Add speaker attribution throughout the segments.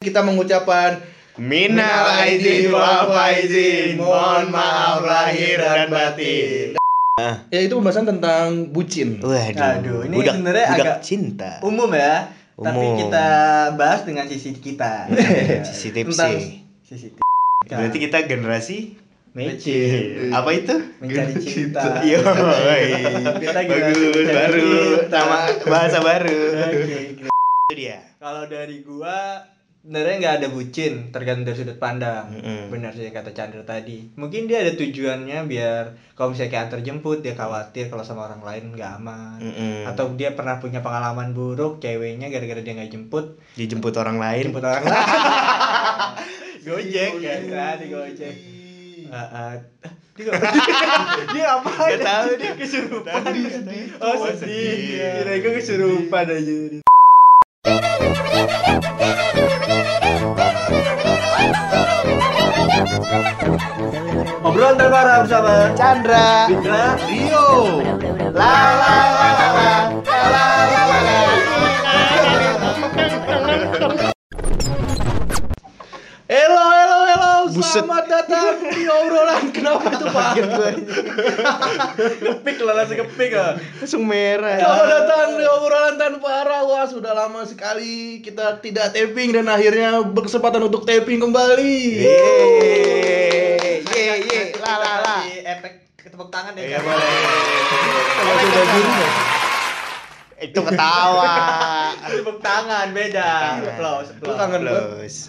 Speaker 1: kita mengucapkan
Speaker 2: Minal aidin wal faizin, mohon maaf lahir dan batin.
Speaker 1: ya itu pembahasan tentang bucin
Speaker 2: Waduh,
Speaker 3: Aduh, ini
Speaker 2: budak,
Speaker 3: sebenarnya
Speaker 2: budak
Speaker 3: agak-
Speaker 2: cinta.
Speaker 3: umum ya
Speaker 2: Umum.
Speaker 3: tapi
Speaker 2: Iya,
Speaker 3: kita bahas dengan sisi kita
Speaker 2: Sisi tipsi.
Speaker 3: Tentang sisi ti-
Speaker 2: Berarti kita generasi
Speaker 3: Mecin.
Speaker 2: apa itu?
Speaker 3: Mencari
Speaker 2: Generasi
Speaker 3: cinta.
Speaker 2: Yo,
Speaker 3: Kita Iya. generasi
Speaker 2: Iya. bagus
Speaker 3: mencari
Speaker 2: baru,
Speaker 3: cinta.
Speaker 2: nama bahasa baru.
Speaker 3: Oke, oke.
Speaker 2: Itu dia.
Speaker 3: kalau dari gua sebenarnya nggak ada bucin tergantung dari sudut pandang
Speaker 2: Mm-mm.
Speaker 3: benar sih kata Chandra tadi mungkin dia ada tujuannya biar kalau misalnya kayak antar jemput dia khawatir kalau sama orang lain nggak aman
Speaker 2: Mm-mm.
Speaker 3: atau dia pernah punya pengalaman buruk ceweknya gara-gara dia nggak jemput
Speaker 2: dijemput orang lain.
Speaker 3: jemput orang lain gojek
Speaker 2: Iya,
Speaker 3: ya tadi gojek Ah, ah. dia dia apa
Speaker 2: Gak tahu dia.
Speaker 3: kesurupan
Speaker 2: Tadi sedih.
Speaker 3: oh
Speaker 2: Oh,
Speaker 3: sedih
Speaker 2: sedih.
Speaker 3: kira gue kesurupan aja obrolan terbaru bersama
Speaker 2: Chandra.
Speaker 3: Fitra
Speaker 2: Rio. La la la la la. La la la la
Speaker 1: Hello, hello, hello,
Speaker 2: Buset.
Speaker 1: selamat datang di obrolan Kenapa itu Pak?
Speaker 3: kepik lo langsung kepik lo
Speaker 2: Langsung merah.
Speaker 1: Selamat datang di obrolan tanpa arah Wah, sudah lama sekali kita tidak taping Dan akhirnya berkesempatan untuk taping kembali Iya.
Speaker 2: Yeay. Yeay. La la la.
Speaker 3: Kasih efek tepuk tangan ya
Speaker 2: Iya
Speaker 3: kan?
Speaker 2: boleh.
Speaker 3: Kalau sudah biru, ya?
Speaker 2: Itu ketawa.
Speaker 3: tepuk tangan beda applause
Speaker 1: Tepuk tangan.
Speaker 3: applause
Speaker 2: Close.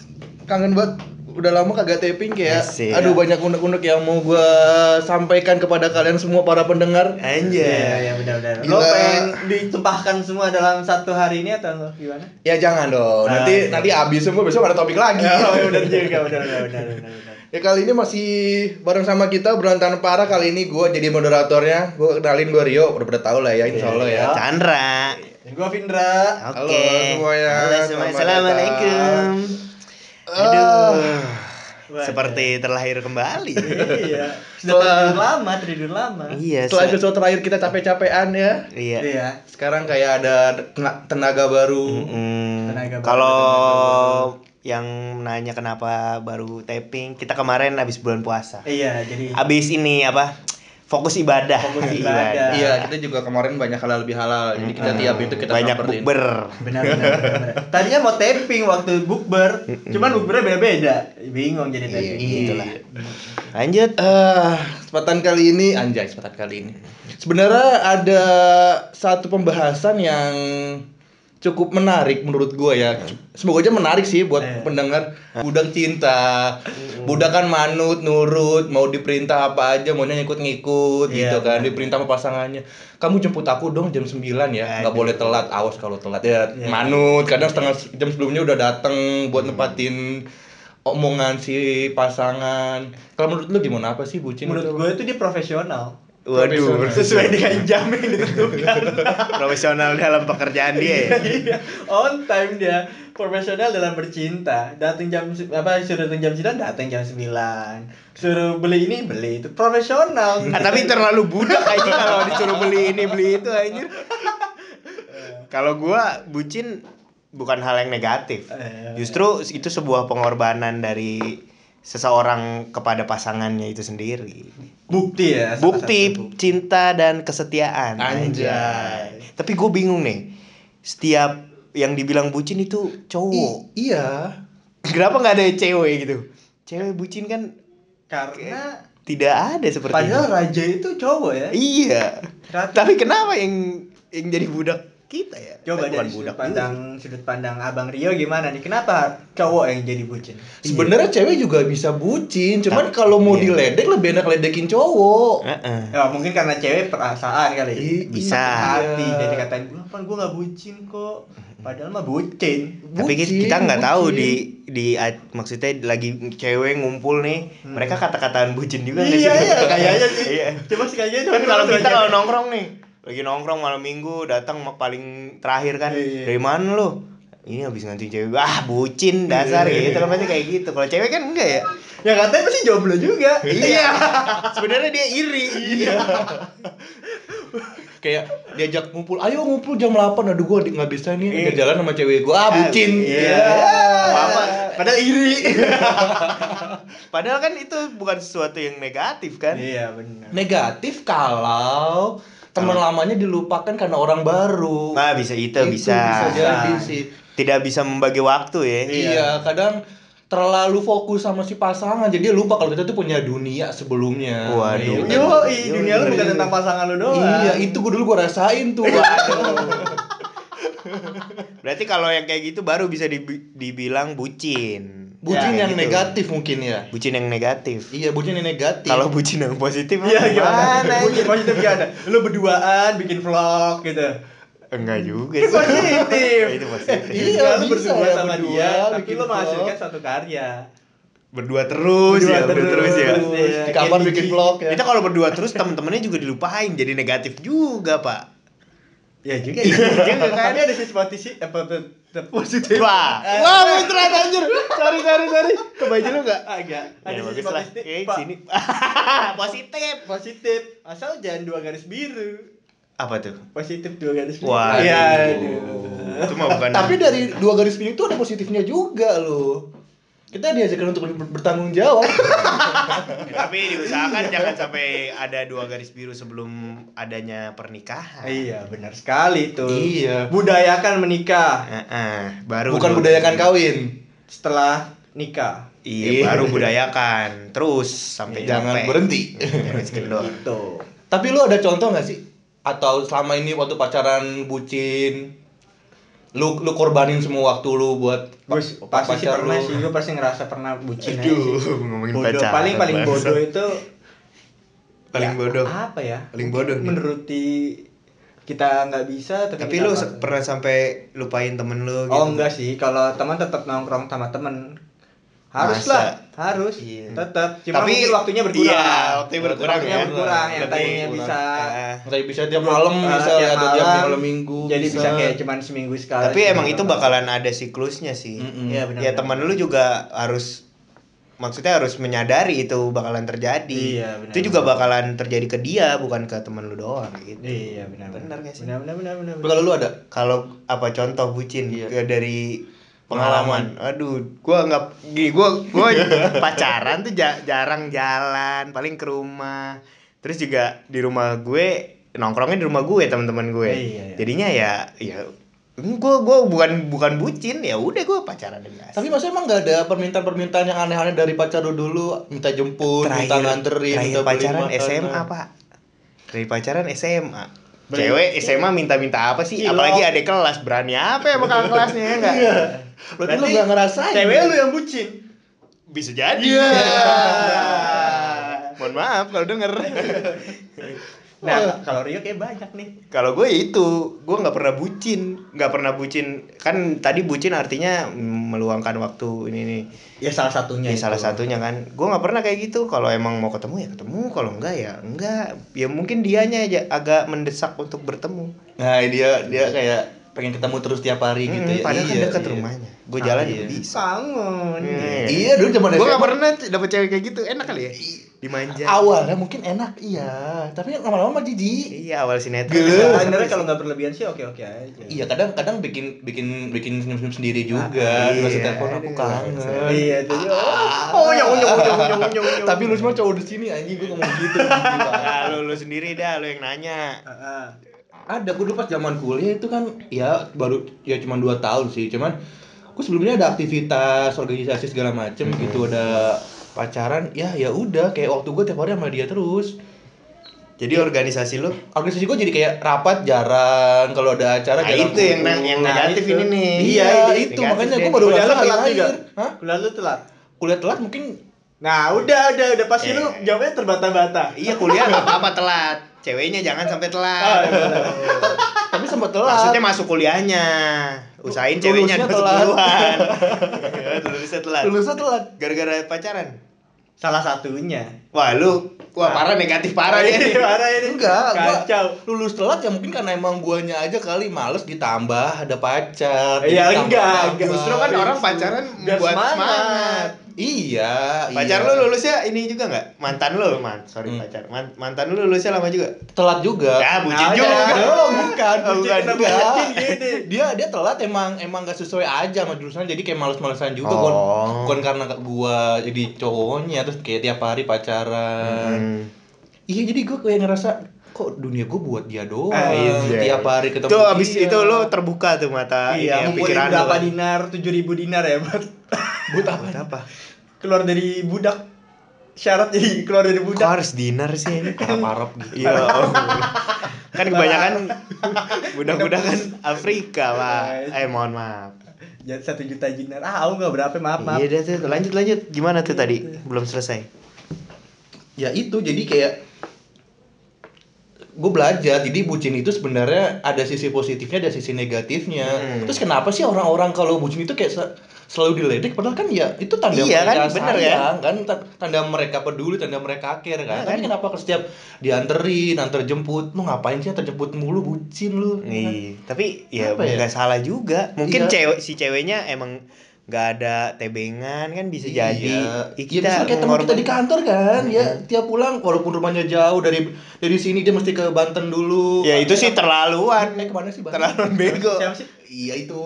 Speaker 1: Kangen banget udah lama kagak taping kayak
Speaker 2: Asik.
Speaker 1: aduh banyak unek-unek yang mau gua sampaikan kepada kalian semua para pendengar
Speaker 3: Iya,
Speaker 2: Anjay.
Speaker 3: iya benar-benar.
Speaker 1: Gila.
Speaker 3: Lo pengen ditumpahkan semua dalam satu hari ini atau gimana?
Speaker 1: ya jangan dong
Speaker 3: Ah,
Speaker 1: nanti
Speaker 3: iya.
Speaker 2: Nah.
Speaker 1: nanti habis semua besok ada topik
Speaker 2: Ya,
Speaker 1: lagi
Speaker 3: benar juga, benar benar benar benar.
Speaker 1: Ya kali ini masih bareng sama kita berantakan parah kali ini gue jadi moderatornya gue kenalin gue Rio udah pada tau lah ya insya Allah ya
Speaker 3: Iya.
Speaker 2: Chandra.
Speaker 3: Dan gua Vindra.
Speaker 2: Oke.
Speaker 1: Halo semuanya,
Speaker 2: Halo semua.
Speaker 1: selamat
Speaker 2: Assalamualaikum.
Speaker 1: Ah.
Speaker 2: Aduh.
Speaker 3: Waduh.
Speaker 2: Seperti terlahir kembali.
Speaker 3: Iya. Sudah
Speaker 1: Setelah-
Speaker 3: tidur lama, tidur lama.
Speaker 2: Iya.
Speaker 1: setelah
Speaker 2: se-
Speaker 1: episode terakhir kita capek-capean ya
Speaker 2: Iya.
Speaker 3: Iya.
Speaker 1: sekarang kayak ada tena- tenaga baru
Speaker 2: Mm-mm.
Speaker 3: Tenaga baru,
Speaker 2: Kalau Mm. yang nanya kenapa baru taping, kita kemarin habis bulan puasa.
Speaker 3: Iya, jadi
Speaker 2: Habis ini apa? Fokus ibadah.
Speaker 3: Fokus
Speaker 2: Ibadah.
Speaker 3: ibadah.
Speaker 1: iya kita juga kemarin banyak halal bihalal jadi kita
Speaker 2: Mm-mm.
Speaker 1: tiap itu kita
Speaker 2: banyak
Speaker 1: samperin.
Speaker 2: bukber.
Speaker 3: benar benar. benar. Tadinya mau taping waktu bukber, cuman bukbernya beda-beda. Bingung jadi
Speaker 2: Iya,
Speaker 3: taping.
Speaker 2: itulah. Lanjut.
Speaker 1: Ah, kesempatan kali ini anjay kesempatan kali ini sebenarnya ada satu pembahasan yang cukup menarik menurut gua ya semoga aja menarik sih buat
Speaker 3: Iya.
Speaker 1: pendengar budak cinta budak kan manut nurut mau diperintah apa aja maunya ngikut-ngikut
Speaker 3: Iya,
Speaker 1: gitu kan
Speaker 3: benar.
Speaker 1: diperintah sama pasangannya kamu jemput aku dong jam 9 ya nggak
Speaker 2: Aduh.
Speaker 1: boleh telat awas kalau telat ya
Speaker 3: Eh, gitu. Iya.
Speaker 1: manut kadang setengah jam sebelumnya udah dateng buat nepatin omongan si pasangan. Kalau menurut lu gimana apa sih bucin
Speaker 3: Menurut
Speaker 1: itu?
Speaker 3: gue itu dia profesional. Iya.
Speaker 2: Waduh,
Speaker 1: profesional.
Speaker 3: Sesuai
Speaker 2: kan
Speaker 3: dengan jam yang ditentukan.
Speaker 2: profesional dalam pekerjaan dia ya.
Speaker 3: Iya, on time dia profesional dalam bercinta datang jam se- apa suruh datang jam 9 datang jam 9 suruh beli ini beli itu profesional
Speaker 2: Ah, tapi terlalu budak aja kalau disuruh beli ini beli itu anjir. Kalau gua bucin bukan hal yang negatif.
Speaker 3: Eh.
Speaker 2: Justru itu sebuah pengorbanan dari seseorang kepada pasangannya itu sendiri.
Speaker 3: bukti ya salah
Speaker 2: Bukti
Speaker 3: satu bukti.
Speaker 2: cinta dan kesetiaan.
Speaker 1: Anjay.
Speaker 2: Tapi gue bingung nih. Setiap yang dibilang bucin itu cowok.
Speaker 1: I- iya.
Speaker 2: Kenapa nggak ada cewek gitu? Cewek bucin kan
Speaker 3: karena
Speaker 2: tidak ada seperti
Speaker 3: padahal
Speaker 2: itu.
Speaker 3: raja itu cowok ya
Speaker 2: Iya.
Speaker 3: Ratu.
Speaker 2: Tapi kenapa yang yang jadi budak kita ya? Bukan
Speaker 3: coba dari sudut pandang sudut pandang abang Rio gimana nih kenapa cowok yang jadi bucin
Speaker 1: Sebenarnya cewek juga bisa bucin, cuman
Speaker 2: Tapi-
Speaker 1: kalau mau
Speaker 2: iya.
Speaker 1: diledek lebih enak ledekin cowok.
Speaker 2: Heeh.
Speaker 3: ya mungkin karena cewek perasaan kali ya.
Speaker 1: I-
Speaker 2: Eh, bisa.
Speaker 1: iya.
Speaker 3: hati jadi katain gue kan gue nggak bucin kok padahal mah bucin
Speaker 2: Tapi
Speaker 1: Bucin,
Speaker 2: kita nggak tahu
Speaker 1: bucin.
Speaker 2: di di a- maksudnya lagi cewek ngumpul nih, mereka kata-kataan bucin juga nggak
Speaker 3: Hmm. iya
Speaker 2: sih?
Speaker 3: iya kayaknya sih
Speaker 2: Iya.
Speaker 3: coba sekali aja
Speaker 2: Kan
Speaker 3: coba
Speaker 2: kalau
Speaker 3: coba
Speaker 2: kita
Speaker 3: aja.
Speaker 2: kalau nongkrong nih, lagi nongkrong malam minggu datang ma- paling terakhir kan.
Speaker 3: Iya.
Speaker 2: Dari mana lu? Ini habis ngantin cewek. Ah, bucin dasar
Speaker 3: iya,
Speaker 2: gitu kan pasti kayak gitu. Kalau cewek kan enggak ya.
Speaker 3: ya katanya pasti jomblo juga Iya.
Speaker 2: Iya. Sebenarnya dia iri. Iya.
Speaker 1: kayak diajak ngumpul ayo ngumpul jam 8 aduh gua di- nggak bisa nih ada jalan sama cewek gua ah bucin
Speaker 2: Iya. Apa-apa. Padahal iri. Padahal kan itu bukan sesuatu yang negatif kan?
Speaker 3: Iya benar.
Speaker 1: negatif kalau teman lamanya dilupakan karena orang baru
Speaker 2: Nah, bisa itu, bisa.
Speaker 1: bisa jadi
Speaker 3: Bisa.
Speaker 1: sih
Speaker 2: Tidak bisa membagi waktu ya.
Speaker 1: Iya, kadang terlalu fokus sama si pasangan jadi dia lupa kalau kita tuh punya dunia sebelumnya.
Speaker 2: Waduh.
Speaker 1: Iya.
Speaker 3: Yo, dunia lu bukan tentang pasangan lu doang.
Speaker 1: Iya, itu gue dulu gue rasain tuh.
Speaker 2: Ya,
Speaker 1: Waduh.
Speaker 2: Berarti kalau yang kayak gitu baru bisa dibi- dibilang bucin.
Speaker 1: Bucin
Speaker 2: Ya,
Speaker 1: yang
Speaker 2: gitu.
Speaker 1: negatif mungkin ya.
Speaker 2: Bucin yang negatif.
Speaker 1: Iya, bucin yang negatif.
Speaker 2: Kalau bucin yang positif
Speaker 3: Iya gimana?
Speaker 2: gimana?
Speaker 3: Mungkin positif gimana? Lu berduaan bikin vlog gitu.
Speaker 2: Enggak juga
Speaker 3: Itu positif.
Speaker 2: itu positif.
Speaker 1: Iya,
Speaker 3: lu
Speaker 1: bisa
Speaker 3: berdua
Speaker 1: ya,
Speaker 3: sama
Speaker 1: berdua,
Speaker 3: dia, tapi
Speaker 1: bikin
Speaker 3: lu menghasilkan
Speaker 1: vlog.
Speaker 3: satu karya.
Speaker 2: Berdua terus
Speaker 3: Berdua
Speaker 2: ya, berdua terus, ya.
Speaker 3: terus.
Speaker 1: Di kamar bikin vlog ya.
Speaker 2: Kita kalau berdua terus teman-temannya juga dilupain jadi negatif juga, Pak.
Speaker 3: Ya juga.
Speaker 2: Iya juga kan?
Speaker 3: Tapi ada sisi positif, eh, po- po- positif.
Speaker 2: Wah, wah muncrat anjir. Sorry, sorry, sorry. Kebaca lu enggak?
Speaker 3: Agak. Ada
Speaker 2: Ya,
Speaker 3: sisi
Speaker 2: bagus lah.
Speaker 3: positif.
Speaker 2: Eh,
Speaker 3: Pak.
Speaker 2: sini. Positif.
Speaker 3: Positif. Asal jangan dua garis biru.
Speaker 2: Apa tuh?
Speaker 3: Positif dua garis biru.
Speaker 2: Wah.
Speaker 3: Iya.
Speaker 2: aduh. Itu mah bukan.
Speaker 1: Tapi dari dua garis biru itu ada positifnya juga loh. Kita diajarkan untuk ber- bertanggung jawab.
Speaker 2: Eh, tapi diusahakan jangan sampai ada dua garis biru sebelum adanya pernikahan.
Speaker 3: Iya, benar sekali tuh.
Speaker 1: Iya.
Speaker 3: Budayakan menikah
Speaker 2: Heeh, baru
Speaker 1: Bukan
Speaker 2: dua-
Speaker 1: budayakan kawin.
Speaker 3: setelah nikah.
Speaker 2: Iya, baru budayakan. Terus sampai
Speaker 1: Jangan
Speaker 2: capek.
Speaker 1: berhenti.
Speaker 2: Jangan sekian doang.
Speaker 3: Gitu.
Speaker 1: Tapi lu ada contoh nggak sih? Atau selama ini waktu pacaran bucin, lu lu korbanin semua waktu lu buat
Speaker 3: Gue
Speaker 1: pa-
Speaker 3: pasti sih
Speaker 1: pacar
Speaker 3: pernah
Speaker 1: lu?
Speaker 3: sih, gue pasti ngerasa pernah bucin aja
Speaker 2: Aduh,
Speaker 3: sih.
Speaker 2: ngomongin
Speaker 3: Bodoh,
Speaker 2: pacaran,
Speaker 3: paling paling
Speaker 2: bangsa.
Speaker 3: bodoh itu
Speaker 2: Paling
Speaker 3: ya,
Speaker 2: bodoh.
Speaker 3: Apa ya?
Speaker 2: Paling bodoh nih.
Speaker 3: Menuruti kita nggak bisa tapi,
Speaker 2: Tapi
Speaker 3: kita
Speaker 2: lu
Speaker 3: bakal-
Speaker 2: se- pernah sampai lupain temen lu gitu?
Speaker 3: Oh enggak sih, kalau teman tetap nongkrong sama temen harus
Speaker 2: Masa?
Speaker 3: lah, harus
Speaker 2: Iya.
Speaker 3: tetap. Cuma
Speaker 2: Tapi-
Speaker 3: mungkin waktunya berkurang.
Speaker 2: iya, waktunya berkurang
Speaker 3: Waktunya
Speaker 1: ya.
Speaker 3: berkurang, yang
Speaker 2: Iya, Lebih
Speaker 3: tadinya
Speaker 1: kurang.
Speaker 3: bisa
Speaker 2: Ah.
Speaker 1: Tapi bisa tiap malam
Speaker 3: eh,
Speaker 1: bisa ya,
Speaker 3: tiap
Speaker 1: atau tiap
Speaker 3: malam,
Speaker 1: malam minggu.
Speaker 3: Jadi bisa, kayak cuman seminggu sekali.
Speaker 2: Tapi
Speaker 3: seminggu
Speaker 2: emang itu
Speaker 3: sekali.
Speaker 2: bakalan ada siklusnya sih.
Speaker 1: Mm-mm.
Speaker 3: Iya benar.
Speaker 2: Ya teman lu juga harus maksudnya harus menyadari itu bakalan terjadi.
Speaker 3: Iya, benar.
Speaker 2: Itu juga bakalan terjadi ke dia bukan ke teman lu doang gitu.
Speaker 3: Iya benar.
Speaker 2: Benar nggak sih?
Speaker 3: Benar benar benar benar.
Speaker 1: Tapi kalau lu ada
Speaker 2: Kalau apa contoh bucin
Speaker 1: Iya.
Speaker 2: ke- dari pengalaman. Aduh, gua nggak gini, gua gua pacaran tuh ja- jarang jalan, paling ke rumah. Terus juga di rumah gue nongkrongnya di rumah gue teman-teman gue.
Speaker 3: Iya, iya.
Speaker 2: Jadinya ya ya gue gue bukan bukan bucin ya udah gue pacaran biasa.
Speaker 1: tapi maksudnya emang gak ada permintaan-permintaan yang aneh-aneh dari pacar lu dulu minta jemput, minta nganterin,
Speaker 2: terakhir
Speaker 1: minta beliin
Speaker 2: pacaran
Speaker 1: makanan.
Speaker 2: SMA pak terakhir pacaran SMA
Speaker 3: Berarti-
Speaker 2: cewek
Speaker 1: Iya.
Speaker 2: SMA minta-minta apa sih
Speaker 3: Cilok.
Speaker 2: apalagi adik kelas berani apa ya bakal kelasnya ya enggak
Speaker 1: Iya. Berarti lu
Speaker 3: Berarti
Speaker 1: gak ngerasain.
Speaker 3: Cewek lu yang bucin.
Speaker 2: bisa jadi
Speaker 1: Iya.
Speaker 2: mohon maaf kalau denger
Speaker 3: Nah, kalau Rio kayak banyak nih.
Speaker 2: kalau gue itu gue nggak pernah bucin nggak pernah bucin kan tadi bucin artinya mm, meluangkan waktu ini nih
Speaker 3: Ya salah satunya.
Speaker 2: Ya,
Speaker 1: Gitu.
Speaker 3: itu.
Speaker 2: salah satunya kan. Gue nggak pernah kayak gitu. Kalau emang mau ketemu ya ketemu. Kalau enggak ya enggak. Ya mungkin dianya aja agak mendesak untuk bertemu.
Speaker 1: Nah, dia dia kayak pengen ketemu terus tiap hari gitu
Speaker 2: Hmm,
Speaker 1: ya.
Speaker 2: padahal kan
Speaker 1: Iya,
Speaker 2: dekat
Speaker 1: iya.
Speaker 2: rumahnya. Gue jalan
Speaker 1: iya.
Speaker 2: juga bisa.
Speaker 3: Bangun.
Speaker 2: Iya.
Speaker 1: Iya, dulu zaman
Speaker 2: Gue nggak
Speaker 1: SMA.
Speaker 2: pernah t- dapet cewek kayak gitu. Enak kali ya. Dimanja.
Speaker 1: Awalnya mungkin enak, iya. Tapi lama-lama mah jijik.
Speaker 2: Iya awal sinetron.
Speaker 1: Gila.
Speaker 2: Awal-
Speaker 3: Sebenarnya kalau nggak berlebihan sih oke oke aja.
Speaker 1: Iya, kadang-kadang bikin bikin bikin senyum-senyum sendiri
Speaker 2: Ah,
Speaker 1: juga. Di masa
Speaker 2: iya.
Speaker 1: telepon aku
Speaker 2: Aduh,
Speaker 1: kangen. Ah.
Speaker 3: Iya itu. Oh,
Speaker 1: iya,
Speaker 3: nyong nyong nyong nyong nyong. nyong.
Speaker 1: Tapi lu semua cowok di sini anjing gua ngomong gitu. Gila.
Speaker 2: Ah, lu, lu sendiri dah lu yang nanya.
Speaker 3: Heeh.
Speaker 1: ada gue dulu pas zaman kuliah itu kan ya baru ya cuman dua tahun sih cuman gue sebelumnya ada aktivitas organisasi segala macem gitu ada pacaran ya ya udah kayak waktu gue tiap hari sama dia terus
Speaker 2: Jadi organisasi lu.
Speaker 1: organisasi gue jadi kayak rapat jarang kalau ada acara
Speaker 2: Nah,
Speaker 1: jarang
Speaker 2: itu yang
Speaker 1: kumpul.
Speaker 2: yang
Speaker 3: Nah,
Speaker 2: negatif
Speaker 3: itu.
Speaker 2: ini nih.
Speaker 1: iya
Speaker 2: Negatif
Speaker 1: itu makanya
Speaker 2: deh.
Speaker 1: gue baru
Speaker 3: Kuliah lu
Speaker 1: ngerasa
Speaker 3: telat
Speaker 1: hari
Speaker 3: juga?
Speaker 1: akhir. Hah?
Speaker 3: Kuliah lu telat.
Speaker 1: kuliah telat mungkin
Speaker 3: Nah, udah udah udah pasti
Speaker 2: Iya.
Speaker 3: lu jawabnya terbata-bata.
Speaker 2: Iya kuliah nggak apa-apa telat. Ceweknya jangan sampai
Speaker 3: Ah,
Speaker 2: telat.
Speaker 3: iya, benar.
Speaker 1: tapi sempat telat
Speaker 2: Maksudnya masuk kuliahnya. Usahain ceweknya
Speaker 1: Lulusnya
Speaker 2: masuk
Speaker 1: telat.
Speaker 2: duluan. Ya, Lulusnya telat.
Speaker 1: lulusnya telat
Speaker 2: Gara-gara pacaran.
Speaker 3: Salah satunya.
Speaker 2: Wah, lu wah
Speaker 1: Nah.
Speaker 2: parah negatif parah
Speaker 3: Iya,
Speaker 2: ya.
Speaker 3: Parah ini.
Speaker 1: enggak gua
Speaker 3: Kacau.
Speaker 1: lulus telat ya mungkin karena emang guanya aja kali males ditambah ada pacar
Speaker 3: Iya
Speaker 1: ditambah
Speaker 3: enggak,
Speaker 1: tambah.
Speaker 3: enggak.
Speaker 2: Justru kan orang pacaran
Speaker 3: Biar
Speaker 2: membuat
Speaker 3: semangat.
Speaker 2: semangat.
Speaker 1: Iya,
Speaker 2: Pacar
Speaker 1: iya.
Speaker 2: lu lulusnya ini juga nggak? Mantan lu, man. Sorry
Speaker 1: Hmm.
Speaker 2: pacar. Man- mantan lu lulusnya lama juga.
Speaker 1: telat juga.
Speaker 2: Ya,
Speaker 1: Nah,
Speaker 2: bucin juga.
Speaker 1: Belum, bukan,
Speaker 2: Oh,
Speaker 1: bucin
Speaker 2: bukan.
Speaker 1: kenapa
Speaker 2: Bukan.
Speaker 1: bucin gini? Dia dia telat emang emang gak sesuai aja sama jurusan jadi kayak males-malesan juga
Speaker 2: Oh.
Speaker 1: bukan bukan karena gua jadi cowoknya terus kayak tiap hari pacaran.
Speaker 2: Hmm.
Speaker 1: Iya, jadi gua kayak ngerasa kok dunia gua buat dia doang.
Speaker 3: Ah,
Speaker 2: iya.
Speaker 1: Tiap hari ketemu
Speaker 2: Tuh abis
Speaker 1: dia.
Speaker 2: itu lu terbuka tuh mata
Speaker 3: Iya,
Speaker 2: ini ya,
Speaker 3: ngumpulin
Speaker 2: pikiran lu.
Speaker 3: berapa dinar? 7000 dinar ya buat
Speaker 1: buat apa?
Speaker 2: Buat apa?
Speaker 3: keluar dari budak. Syarat jadi keluar dari
Speaker 2: Kok
Speaker 3: budak.
Speaker 2: harus dinner sih ini?
Speaker 1: Arab-Arab gitu.
Speaker 2: Iya. kan kebanyakan budak-budak kan Afrika, Pak. Eh, mohon maaf.
Speaker 3: Jadi satu juta dinar. Ah, aku nggak berapa, maaf, maaf. Iya,
Speaker 2: Iya, dah tuh. Lanjut, lanjut. Gimana tuh tadi? Belum selesai.
Speaker 1: ya itu jadi kayak gue belajar jadi bucin itu sebenarnya ada sisi positifnya ada sisi negatifnya
Speaker 2: Hmm.
Speaker 1: terus kenapa sih orang-orang kalau bucin itu kayak se- selalu diledek padahal kan ya itu tanda
Speaker 2: Iya kan,
Speaker 1: mereka
Speaker 2: bener
Speaker 1: sayang kan Ta- tanda mereka peduli tanda mereka care kan
Speaker 2: Iya
Speaker 1: tapi
Speaker 2: kan?
Speaker 1: kenapa setiap dianterin antar jemput lu ngapain sih antar jemput mulu bucin lu
Speaker 3: Iya.
Speaker 2: Nih, tapi ya
Speaker 1: Apa ya?
Speaker 2: nggak salah juga.
Speaker 1: Iya.
Speaker 2: Mungkin cewek si ceweknya emang nggak ada tebengan kan bisa jadi.
Speaker 1: Iya.
Speaker 2: Ih,
Speaker 1: ya, misalnya kayak teman kita
Speaker 2: mengorban-
Speaker 1: di kantor kan
Speaker 2: Iya.
Speaker 1: ya tiap pulang walaupun rumahnya jauh dari dari sini dia mesti ke Banten dulu Iya kan?
Speaker 2: Ya itu sih terlaluan.
Speaker 1: eh kemana sih Banten?
Speaker 2: Terlaluan bego.
Speaker 3: Siapa sih?
Speaker 1: Iya itu.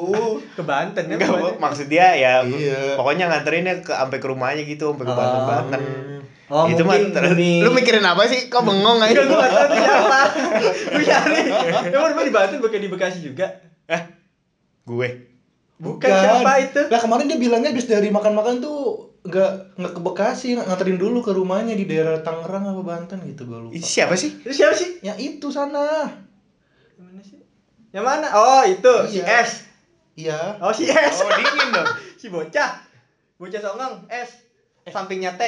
Speaker 3: Ke Banten ya,
Speaker 2: Enggak,
Speaker 3: kemana?
Speaker 2: maksud dia ya
Speaker 1: Iya.
Speaker 2: pokoknya nganterinnya ke sampai ke rumahnya gitu, sampai ke
Speaker 1: Ah.
Speaker 2: Banten-Banten.
Speaker 3: Oh,
Speaker 2: itu mah
Speaker 3: mungkin Iya,
Speaker 2: ter-
Speaker 3: demi-
Speaker 2: lu mikirin apa sih? Kok bengong aja?
Speaker 3: Enggak, gue gak tau siapa Iya, Gue nyari Emang rumah di Banten bukan di Bekasi juga
Speaker 2: Eh, gue.
Speaker 3: Bukan siapa itu
Speaker 1: Lah kemarin dia bilangnya habis dari makan-makan tuh nggak nggak ke Bekasi nganterin dulu ke rumahnya di daerah Tangerang apa Banten gitu gue
Speaker 2: Ih,
Speaker 1: lupa.
Speaker 2: Siapa sih?
Speaker 3: Itu siapa sih?
Speaker 1: Yang itu sana.
Speaker 3: Yang mana sih? Yang mana? Oh itu si
Speaker 1: Iya.
Speaker 3: S
Speaker 1: Iya.
Speaker 3: Oh si S
Speaker 2: Oh, dingin dong.
Speaker 3: Si bocah Bocah songong S
Speaker 2: Eh.
Speaker 3: Sampingnya T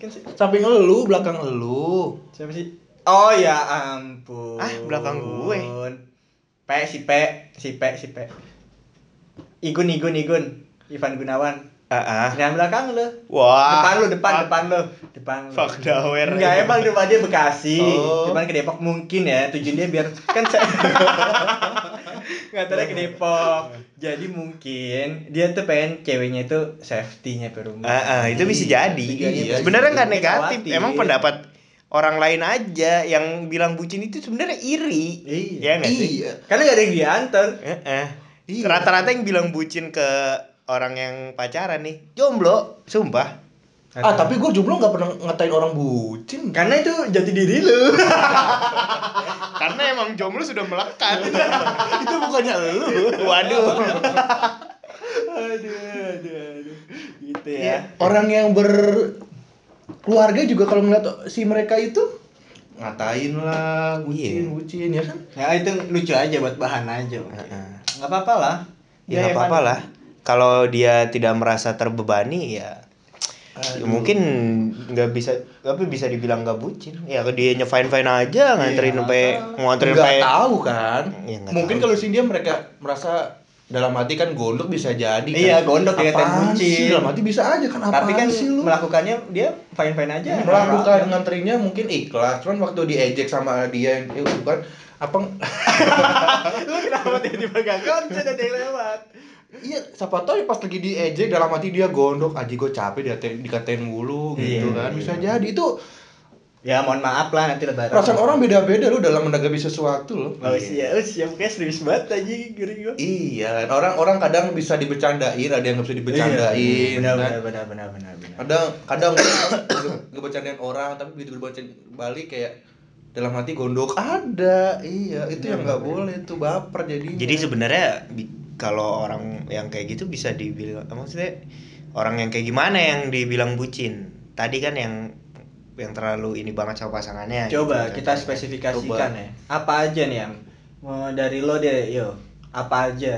Speaker 3: Kan si-
Speaker 1: Samping lu, belakang lu.
Speaker 3: Siapa sih? Oh ya ampun
Speaker 2: Ah, belakang gue.
Speaker 3: P si P Si P si P Igun Igun Igun Ivan Gunawan
Speaker 2: Ah, ah.
Speaker 3: Nah belakang lu
Speaker 2: Wah.
Speaker 3: Depan lu, depan,
Speaker 2: Fuck.
Speaker 3: depan lu Depan lu
Speaker 2: Fuck dawer.
Speaker 3: Enggak, emang rumah dia Bekasi
Speaker 1: Oh.
Speaker 3: Cuman ke Depok mungkin ya Tujuan dia biar Kan saya Nggak tahu dia ke Depok Jadi mungkin Dia tuh pengen ceweknya itu Safety-nya ke rumah
Speaker 2: Ah, ah, itu bisa jadi.
Speaker 1: Tujuannya
Speaker 2: Iya,
Speaker 1: bisa
Speaker 2: sebenarnya
Speaker 1: jadi.
Speaker 2: nggak
Speaker 3: Dia
Speaker 2: negatif.
Speaker 3: khawatir.
Speaker 2: Emang pendapat orang lain aja yang bilang bucin itu sebenarnya iri.
Speaker 3: Iya.
Speaker 2: Ya nggak sih?
Speaker 1: Iya.
Speaker 3: Karena gak ada yang diantar
Speaker 2: Eh, eh.
Speaker 1: Iya.
Speaker 2: Rata-rata yang bilang bucin ke orang yang pacaran nih, jomblo, sumpah.
Speaker 1: Ah tapi gue jomblo nggak pernah ngatain orang bucin.
Speaker 3: Karena itu jati diri lu
Speaker 2: Karena emang jomblo sudah melekat.
Speaker 1: itu bukannya lu.
Speaker 2: Waduh.
Speaker 3: Aduh, aduh, aduh Gitu
Speaker 1: Iya.
Speaker 3: ya
Speaker 1: Orang yang berkeluarga juga kalau ngeliat si mereka itu ngatain lah, bucin,
Speaker 2: Iya.
Speaker 1: bucin ya kan.
Speaker 3: Ya itu lucu aja buat bahan aja mungkin. Nggak apa-apa lah
Speaker 2: Ya nggak apa-apa lah. Kalau dia tidak merasa terbebani ya ya mungkin nggak bisa tapi bisa dibilang nggak bucin ya dia fine fine aja nganterin
Speaker 3: Iya,
Speaker 2: sampai nganterin
Speaker 1: nggak
Speaker 2: sampai
Speaker 1: tahu kan
Speaker 2: Iya, nggak
Speaker 1: mungkin
Speaker 2: tahu.
Speaker 1: kalau sini dia mereka merasa dalam hati kan gondok bisa jadi kan.
Speaker 3: Iya, gondok ya, kayak
Speaker 1: Apaan
Speaker 3: bucin.
Speaker 1: sih? dalam hati bisa aja kan apaan
Speaker 3: Tapi kan
Speaker 1: sih lu Ya,
Speaker 3: melakukannya dia fine-fine aja
Speaker 2: Iya.
Speaker 1: melakukan nganterinnya mungkin ikhlas cuman waktu diejek sama dia yang eh, bukan apa
Speaker 3: lu kenapa tiba-tiba gak konsen ada yang lewat
Speaker 1: iya siapa tahu ya pas lagi diejek dalam hati dia gondok aja gue capek dikatain, dikatain mulu gitu
Speaker 2: Iya,
Speaker 1: kan
Speaker 2: iya.
Speaker 1: bisa jadi itu
Speaker 3: ya mohon maaf lah nanti lebaran
Speaker 1: perasaan orang beda-beda lu dalam menanggapi sesuatu loh
Speaker 3: oh iya oh siap kayak serius banget aja gini gue
Speaker 1: iya orang-orang kadang bisa dibecandain ada yang nggak bisa
Speaker 2: Iya,
Speaker 1: dibecandain
Speaker 3: benar
Speaker 1: kan.
Speaker 3: benar benar benar benar benar.
Speaker 1: kadang kadang ngebecandain orang tapi begitu berbacan balik kayak dalam hati gondok ada iya itu yang nggak boleh tuh baper jadinya
Speaker 2: jadi sebenarnya bi- kalau orang yang kayak gitu bisa dibilang maksudnya orang yang kayak gimana yang dibilang bucin tadi kan yang yang terlalu ini banget sama pasangannya
Speaker 3: coba
Speaker 2: gitu
Speaker 3: kita
Speaker 2: kan.
Speaker 3: spesifikasikan
Speaker 1: Coba.
Speaker 3: ya apa aja nih yang mau dari lo deh yo apa aja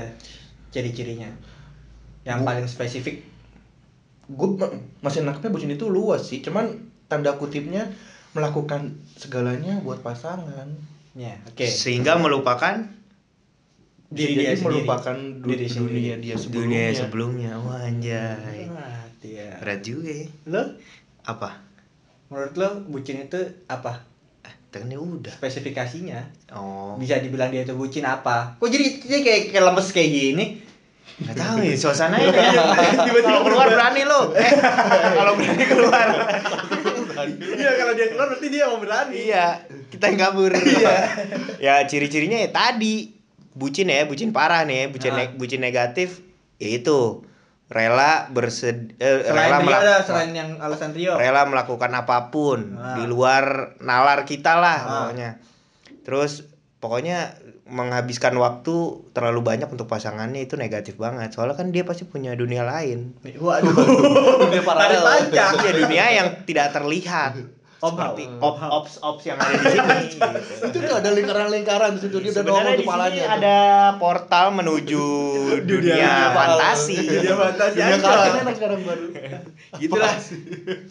Speaker 3: ciri-cirinya yang
Speaker 1: Bu-
Speaker 3: paling spesifik
Speaker 1: gue masih nangkepnya bucin itu luas sih cuman tanda kutipnya melakukan segalanya buat pasangan
Speaker 3: ya oke
Speaker 2: sehingga melupakan
Speaker 1: Jadi
Speaker 3: diri dia sendiri
Speaker 1: melupakan du-
Speaker 3: Diri sendiri.
Speaker 1: dunia dia sebelumnya
Speaker 2: dunia sebelumnya wah anjay
Speaker 3: Wah, dia.
Speaker 2: berat juga ya
Speaker 3: iya. lo
Speaker 2: apa
Speaker 3: menurut lo bucin itu apa
Speaker 2: ah, kan ini udah
Speaker 3: spesifikasinya
Speaker 2: oh
Speaker 3: bisa dibilang dia itu bucin apa kok jadi dia kayak, kayak lemes kayak gini
Speaker 2: Gak tahu ya, suasananya kayak tiba-tiba keluar berani lo. Eh, kalau berani keluar.
Speaker 3: Iya kalau dia keluar berarti dia mau berani.
Speaker 2: iya, kita yang kabur. Iya. ya ciri-cirinya ya tadi bucin ya, bucin parah nih, ya, bucin
Speaker 3: Ah.
Speaker 2: ne- bucin negatif ya itu rela bersed eh,
Speaker 3: Selain
Speaker 2: rela
Speaker 3: dia
Speaker 2: melak-
Speaker 3: ada selain yang alasan Rio.
Speaker 2: rela melakukan apapun
Speaker 3: Ah.
Speaker 2: di luar nalar kita lah
Speaker 3: Ah.
Speaker 2: pokoknya. Terus pokoknya menghabiskan waktu terlalu banyak untuk pasangannya itu negatif banget. Soalnya kan dia pasti punya dunia lain.
Speaker 3: Waduh.
Speaker 1: Dia
Speaker 3: Tarik
Speaker 1: paralel.
Speaker 3: panjang.
Speaker 2: Ya dunia yang tidak terlihat.
Speaker 3: Om
Speaker 2: Seperti
Speaker 3: Om
Speaker 2: op ops ops yang ada di sini. gitu.
Speaker 1: Itu tuh ada lingkaran-lingkaran di situ dia udah
Speaker 2: Sebenarnya
Speaker 1: nongol
Speaker 2: di
Speaker 1: tuh
Speaker 2: sini
Speaker 1: palanya.
Speaker 2: ada portal menuju dunia fantasi.
Speaker 3: Dunia fantasi.
Speaker 2: Dunia
Speaker 3: ancol.
Speaker 2: kalah.
Speaker 1: enak sekarang baru.
Speaker 2: gitulah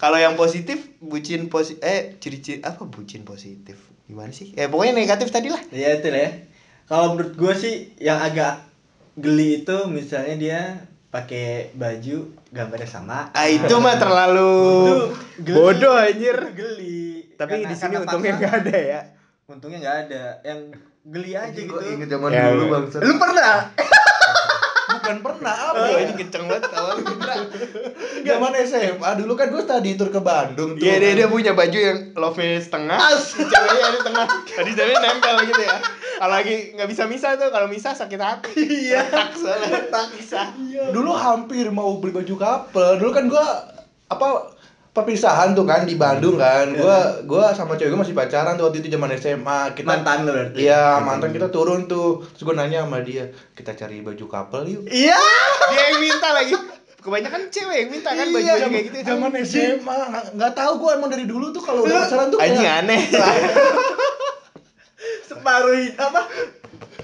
Speaker 2: kalau yang positif bucin posi eh ciri-ciri apa bucin positif gimana sih eh pokoknya negatif tadi lah
Speaker 3: Iya itu lah ya. Kalau menurut gue sih yang agak geli itu misalnya dia pakai baju gambarnya sama.
Speaker 2: ah itu mah terlalu
Speaker 3: Itu geli.
Speaker 2: bodoh anjir
Speaker 3: Geli.
Speaker 2: tapi
Speaker 3: Karena-
Speaker 2: di sini
Speaker 3: karena
Speaker 2: untungnya
Speaker 3: paksa,
Speaker 2: nggak ada ya
Speaker 3: Untungnya nggak ada. Yang geli aja gitu.
Speaker 4: Ingat zaman
Speaker 2: Ya,
Speaker 4: dulu
Speaker 2: ya.
Speaker 4: bangsa.
Speaker 3: Lu pernah?
Speaker 1: Bukan pernah apa
Speaker 2: Aduh,
Speaker 1: ya?
Speaker 2: Oh, ini kenceng banget awal
Speaker 1: Zaman SMA dulu kan gue study tour ke Bandung tuh.
Speaker 2: Iya dia, dia punya baju yang love nya setengah, ceweknya ada tengah. Tadi ceweknya nempel gitu ya. Kalau lagi nggak bisa misah tuh, kalau misah sakit hati. Iya. Tak soalnya Iya. tak bisa.
Speaker 1: Iya. dulu hampir mau beli baju couple dulu kan gua apa perpisahan tuh kan di Bandung kan
Speaker 2: Iya.
Speaker 1: gua gua sama cewek gua masih pacaran tuh waktu itu zaman SMA kita
Speaker 3: Mantan lu berarti.
Speaker 1: iya mantan kita turun tuh terus gua nanya sama dia kita cari baju couple yuk
Speaker 2: Iya. Dia yang minta lagi. Kebanyakan cewek yang minta kan baju baju kayak gitu.
Speaker 1: Iya, zaman SMA nggak- nggak tahu gua emang dari dulu tuh kalau udah pacaran tuh
Speaker 2: Anjing
Speaker 1: kayak
Speaker 2: aneh.
Speaker 3: Separuh apa?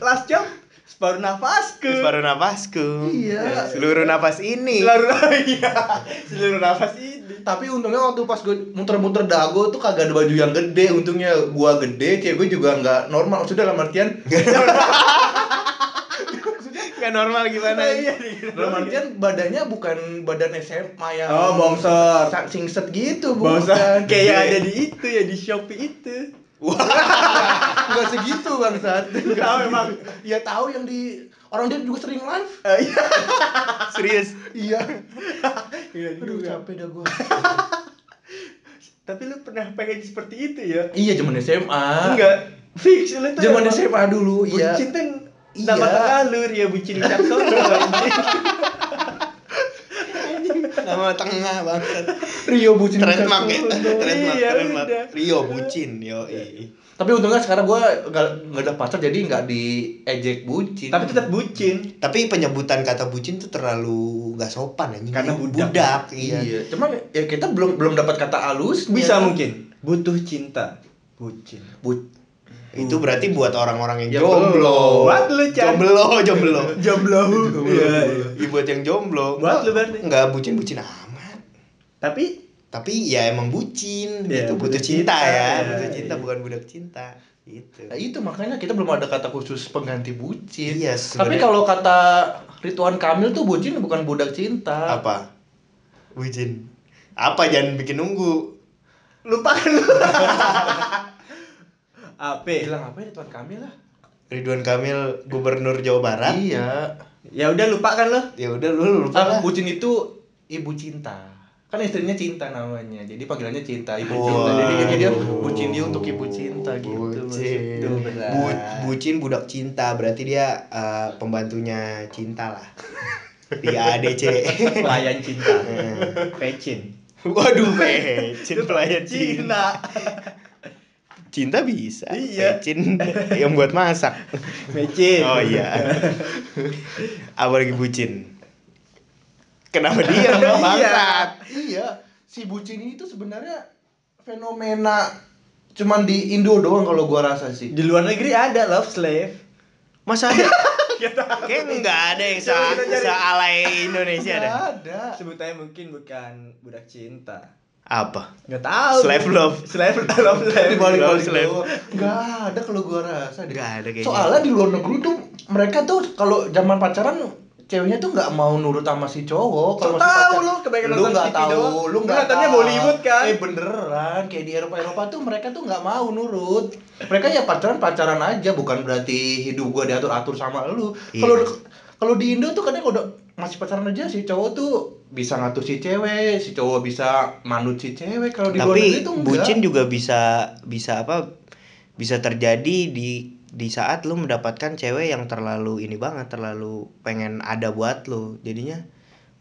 Speaker 3: Last job. Separuh nafasku.
Speaker 2: Separuh nafasku.
Speaker 1: Iya.
Speaker 2: Ya, Seluruh nafas ini.
Speaker 3: Seluruh iya. Seluruh nafas ini.
Speaker 1: tapi untungnya waktu pas gue muter-muter dago tuh kagak ada baju yang gede untungnya gua gede cewek gue juga nggak normal maksudnya dalam artian
Speaker 2: Gak normal gimana?
Speaker 3: Iya. iya.
Speaker 1: dalam artian badannya bukan badan SMA yang
Speaker 3: Oh, bongsor.
Speaker 1: Sa- singset gitu
Speaker 3: Bangsa
Speaker 1: bukan
Speaker 3: kayak yang ada
Speaker 1: Iya.
Speaker 3: di itu ya di Shopee itu.
Speaker 1: nggak segitu bangsat
Speaker 3: Tahu emang.
Speaker 1: ya tahu yang di orang dia juga sering live
Speaker 3: Eh, Iya.
Speaker 2: Serius.
Speaker 1: iya
Speaker 3: Iya
Speaker 1: aduh
Speaker 3: juga.
Speaker 1: capek dah gua
Speaker 3: Tapi lu pernah pengen seperti itu ya?
Speaker 1: iya zaman SMA
Speaker 3: Enggak. Fix lu tuh.
Speaker 1: zaman
Speaker 3: emang
Speaker 1: SMA dulu iya
Speaker 3: Bucin tuh
Speaker 1: Iya.
Speaker 3: nama tengah lu ya bucin Caksono.
Speaker 2: Nama tengah banget.
Speaker 1: Rio bucin
Speaker 2: Trademark ya.
Speaker 1: Caksono.
Speaker 2: Trademark,
Speaker 3: Iya,
Speaker 2: trademark.
Speaker 3: udah.
Speaker 2: Rio bucin, yo.
Speaker 1: tapi untungnya sekarang gua nggak nggak ada pacar jadi nggak diejek bucin
Speaker 3: Tapi tetap bucin.
Speaker 2: Tapi penyebutan kata bucin tuh terlalu gak sopan anjing.
Speaker 3: Karena budak.
Speaker 2: iya.
Speaker 1: iya cuman ya kita belum belum dapat kata halus
Speaker 3: Bisa mungkin. Butuh cinta. Bucin.
Speaker 2: Itu berarti buat orang-orang yang
Speaker 1: Ya,
Speaker 2: jomblo.
Speaker 1: belum.
Speaker 3: Buat lu, Chan.
Speaker 2: Jomblo, jomblo.
Speaker 3: Jomblo. Iya. iya.
Speaker 2: Iya, buat yang jomblo.
Speaker 3: Buat lu berarti.
Speaker 2: Enggak bucin-bucin amat.
Speaker 3: Tapi
Speaker 2: Tapi ya emang bucin
Speaker 3: Iya,
Speaker 2: gitu, butuh
Speaker 3: butuh
Speaker 2: cinta, ya,
Speaker 3: cinta, iya,
Speaker 2: butuh cinta
Speaker 3: iya.
Speaker 2: bukan budak cinta. Gitu.
Speaker 1: Nah, itu makanya kita belum ada kata khusus pengganti bucin.
Speaker 2: Iya,
Speaker 1: Tapi
Speaker 2: sebenarnya-
Speaker 1: kalau kata Rituan Kamil tuh bucin bukan budak cinta.
Speaker 2: Apa? Bucin. Apa jangan bikin nunggu.
Speaker 3: lupakan lu. AP.
Speaker 1: Bilang apa ya Rituan Kamil lah?
Speaker 2: Ridwan Kamil Gubernur Jawa Barat.
Speaker 1: Iya.
Speaker 3: Ya udah lupakan lu.
Speaker 2: Ya udah lu lupa
Speaker 1: Ah,
Speaker 2: lah.
Speaker 1: bucin itu ibu cinta. Kan istrinya cinta namanya. Jadi panggilannya cinta, ibu
Speaker 2: Wah.
Speaker 1: cinta. Jadi kayaknya dia bucin dia untuk ibu cinta gitu.
Speaker 2: Bucin.
Speaker 1: maksudnya.
Speaker 3: benar.
Speaker 2: Bu- bucin budak cinta berarti dia eh, pembantunya cinta lah. Di ADC.
Speaker 3: Pelayan cinta. Pecin.
Speaker 2: Waduh, pecin pelayan cinta. Cinta bisa.
Speaker 3: Iya.
Speaker 2: Pecin yang buat masak.
Speaker 3: Pecin.
Speaker 2: Oh iya. Apa lagi bucin? Kenapa dia
Speaker 3: Iya.
Speaker 2: bangsat?
Speaker 1: Iya, si bucin itu sebenarnya fenomena cuman di Indo doang kalau gua rasa sih.
Speaker 3: Di luar negeri ada love slave.
Speaker 2: Masa ada? Kayak nggak ada yang se
Speaker 3: Coba kita cari.
Speaker 2: sealai Indonesia ada.
Speaker 1: Nggak ada.
Speaker 3: Sebutannya mungkin bukan budak cinta.
Speaker 2: Apa?
Speaker 3: Nggak tahu.
Speaker 2: Slave love.
Speaker 3: Slave love slave.
Speaker 1: di balik
Speaker 2: Love
Speaker 1: balik
Speaker 2: slave.
Speaker 1: Gak ada kalau gua rasa deh.
Speaker 2: Nggak ada kayaknya.
Speaker 1: Soalnya di luar negeri tuh mereka tuh kalau zaman pacaran ceweknya tuh nggak mau nurut sama si cowok. Kalau
Speaker 3: Tahu
Speaker 1: masih pacar-
Speaker 3: lu, kebanyakan
Speaker 1: lu
Speaker 3: nonton
Speaker 1: nggak
Speaker 3: TV
Speaker 1: tahu, lu
Speaker 3: doang. Lu
Speaker 1: nggak
Speaker 3: nontonnya
Speaker 1: tahu.
Speaker 3: Bollywood kan?
Speaker 1: Eh beneran, kayak di Eropa Eropa tuh mereka tuh nggak mau nurut. Mereka ya pacaran pacaran aja, bukan berarti hidup gua diatur atur sama lu.
Speaker 2: Iya.
Speaker 1: Kalau kalau di Indo tuh kadang udah masih pacaran aja si cowok tuh bisa ngatur si cewek, si cowok bisa manut si cewek. Kalau di luar negeri
Speaker 2: tapi
Speaker 1: tuh enggak.
Speaker 2: bucin juga bisa bisa apa bisa terjadi di di saat lu mendapatkan cewek yang terlalu ini banget terlalu pengen ada buat lu jadinya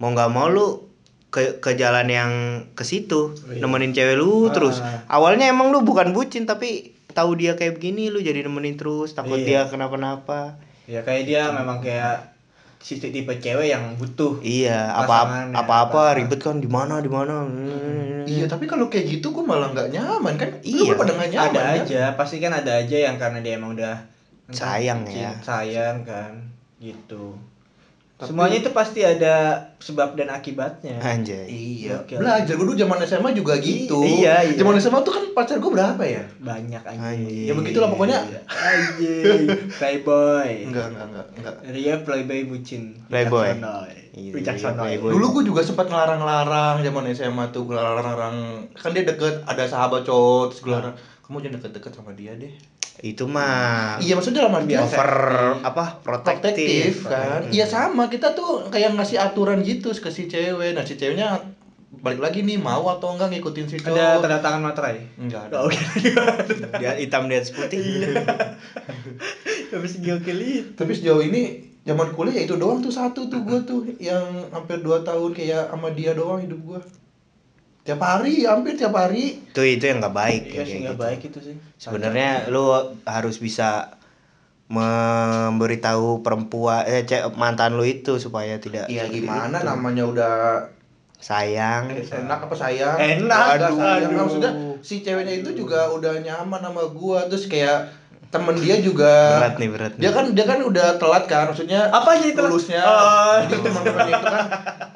Speaker 2: mau nggak mau lu ke ke jalan yang ke situ
Speaker 3: Oh, iya.
Speaker 2: nemenin cewek lu
Speaker 3: Ah.
Speaker 2: terus awalnya emang lu bukan bucin tapi tahu dia kayak begini lu jadi nemenin terus takut
Speaker 3: Iya.
Speaker 2: dia kenapa-napa
Speaker 3: ya kayak dia memang kayak si tipe cewek yang butuh
Speaker 2: iya apa
Speaker 3: Pasangan ya,
Speaker 2: apa apa
Speaker 3: pasangan.
Speaker 2: ribet kan di mana di mana
Speaker 1: Iya, tapi kalau kayak gitu gue malah nggak nyaman kan.
Speaker 2: Iya.
Speaker 1: Lu pada nggak nyaman.
Speaker 3: ada
Speaker 1: kan?
Speaker 3: aja pasti kan ada aja yang karena dia emang udah entah
Speaker 2: Sayang
Speaker 3: cinta,
Speaker 2: ya.
Speaker 3: sayang kan gitu
Speaker 1: Tapi-
Speaker 3: semuanya itu pasti ada sebab dan akibatnya
Speaker 2: anjay
Speaker 1: Iya,
Speaker 3: Oke.
Speaker 1: belajar gue dulu zaman SMA juga gitu.
Speaker 3: Iya, iya.
Speaker 1: Zaman SMA tuh kan pacar gue berapa ya?
Speaker 3: banyak
Speaker 2: Anjing.
Speaker 3: anjing
Speaker 1: Ya begitulah pokoknya.
Speaker 3: anjing playboy
Speaker 1: Enggak, enggak, enggak, enggak.
Speaker 3: Ria playboy eh. bucin
Speaker 2: Playboy. Iya,
Speaker 3: Wicaksono
Speaker 2: playboy.
Speaker 1: Dulu gue juga sempat ngelarang-larang zaman SMA tuh gue larang-larang. Kan dia deket, ada sahabat cowok, terus gue larang. Kamu jangan deket-deket sama dia deh.
Speaker 2: itu mah
Speaker 1: Iya, maksudnya dalam arti
Speaker 3: Biasa.
Speaker 2: over apa
Speaker 1: protektif
Speaker 2: protektif,
Speaker 1: kan. Iya sama, kita tuh kayak ngasih aturan gitu ke si cewek. Nah, si ceweknya balik lagi nih mau atau enggak ngikutin si cowok.
Speaker 3: ada tanda tangan materai
Speaker 1: Enggak ada.
Speaker 3: oke
Speaker 1: Iya.
Speaker 2: dia hitam dia putih
Speaker 3: habis gokil itu
Speaker 1: Tapi sejauh ini zaman kuliah ya itu doang tuh satu tuh gue tuh yang hampir dua tahun kayak sama dia doang hidup gue. Tiap hari, hampir tiap hari.
Speaker 2: tuh itu yang nggak baik ya,
Speaker 3: Iya sih
Speaker 2: kayak
Speaker 3: nggak
Speaker 2: gitu.
Speaker 3: baik itu sih
Speaker 2: sebenarnya lu harus bisa memberitahu perempuan eh ce- mantan lu itu supaya tidak
Speaker 1: Iya
Speaker 2: Ya, seperti
Speaker 1: gimana
Speaker 2: itu.
Speaker 1: namanya udah
Speaker 2: sayang
Speaker 1: enak apa sayang?
Speaker 3: Enak,
Speaker 1: Enggak sayang. Nah,
Speaker 3: aduh.
Speaker 1: Maksudnya si ceweknya itu juga udah nyaman sama gua terus kayak temen dia juga
Speaker 2: berat nih berat nih.
Speaker 1: dia kan dia kan udah telat kan maksudnya
Speaker 3: Apa aja telat?
Speaker 1: lulusnya
Speaker 3: Oh.
Speaker 1: Jadi teman-temannya itu kan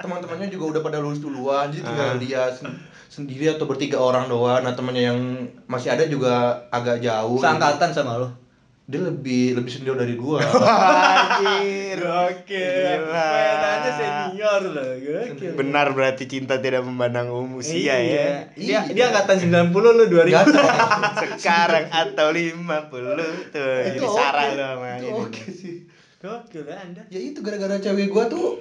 Speaker 1: teman-temannya juga udah pada lulus duluan jadi tinggal
Speaker 2: Ah.
Speaker 1: dia sen- sendiri atau bertiga orang doang nah temannya yang masih ada juga agak jauh
Speaker 3: seangkatan sama lo
Speaker 1: dia lebih lebih senior dari gua
Speaker 2: Anjir.
Speaker 3: Oke,
Speaker 2: Gila.
Speaker 3: mainannya senior loh, gokil.
Speaker 2: benar berarti cinta tidak memandang um- usia
Speaker 3: iya.
Speaker 2: ya
Speaker 3: Dia
Speaker 1: Iya.
Speaker 3: dia angkatan 90 lu 2000.
Speaker 1: Nggak tahu.
Speaker 2: sekarang atau 50 tuh
Speaker 1: itu
Speaker 2: jadi
Speaker 1: oke
Speaker 2: sarah lu sama
Speaker 1: itu
Speaker 2: ini.
Speaker 1: oke sih
Speaker 3: Gokil ya Anda.
Speaker 1: ya itu gara-gara cewek gua tuh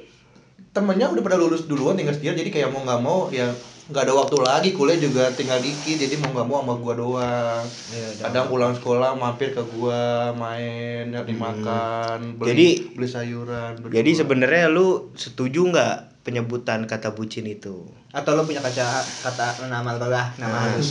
Speaker 1: temennya udah pada lulus duluan tinggal sendiri jadi kayak mau nggak mau ya nggak ada waktu lagi kuliah juga tinggal dikit jadi mau nggak mau sama gua doang
Speaker 3: Iya,
Speaker 1: kadang pulang sekolah mampir ke gua main nyari makan beli
Speaker 2: Hmm. Jadi-
Speaker 1: beli sayuran berdua.
Speaker 2: Jadi sebenarnya lu setuju nggak penyebutan kata bucin itu?
Speaker 3: Atau lo punya kaca kata nama lo lah, nama
Speaker 2: Nah,
Speaker 3: halus.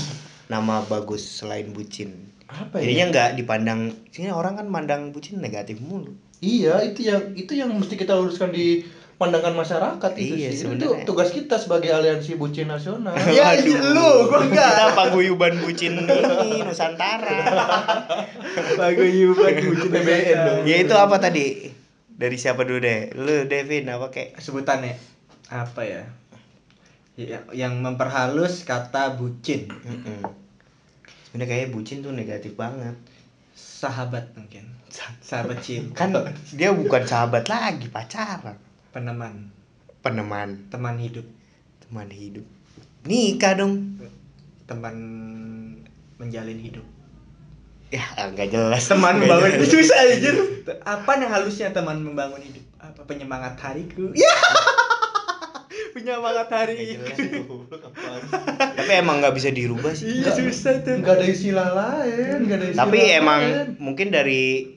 Speaker 2: nama bagus selain bucin.
Speaker 1: apa ya?
Speaker 3: ya?
Speaker 2: Jadinya nggak dipandang. Sini orang kan mandang bucin negatif mulu.
Speaker 1: iya itu yang itu yang mesti kita luruskan di pandangan masyarakat itu
Speaker 2: Iya,
Speaker 1: sih itu
Speaker 2: sebenarnya.
Speaker 1: tugas kita sebagai aliansi bucin nasional
Speaker 3: Ya,
Speaker 2: Waduh.
Speaker 3: iya, lu, gua nggak.
Speaker 2: Kita paguyuban bucin ini Nusantara.
Speaker 3: Paguyuban bucin
Speaker 1: BBN dong.
Speaker 2: ya itu apa tadi? Dari siapa dulu deh? Lu Devin apa kek?
Speaker 3: Sebutannya apa ya? Ya, yang memperhalus kata bucin
Speaker 2: Mm-mm. Sebenarnya kayaknya bucin tuh negatif banget.
Speaker 3: sahabat mungkin sahabat cinta
Speaker 2: Kan dia bukan sahabat lagi, pacaran.
Speaker 3: peneman
Speaker 2: Peneman,
Speaker 3: teman hidup
Speaker 2: teman hidup. Nikah dong.
Speaker 3: teman menjalin hidup
Speaker 2: Ya, nggak jelas.
Speaker 3: teman
Speaker 2: Nggak
Speaker 3: membangun
Speaker 2: jelas.
Speaker 3: hidup susah anjir apa yang halusnya teman membangun hidup apa penyemangat hariku ya penyemangat hari
Speaker 2: gitu. tapi emang nggak bisa dirubah sih
Speaker 3: iya susah tuh
Speaker 1: nggak ada istilah lain nggak ada istilah
Speaker 2: tapi emang
Speaker 1: lain.
Speaker 2: mungkin dari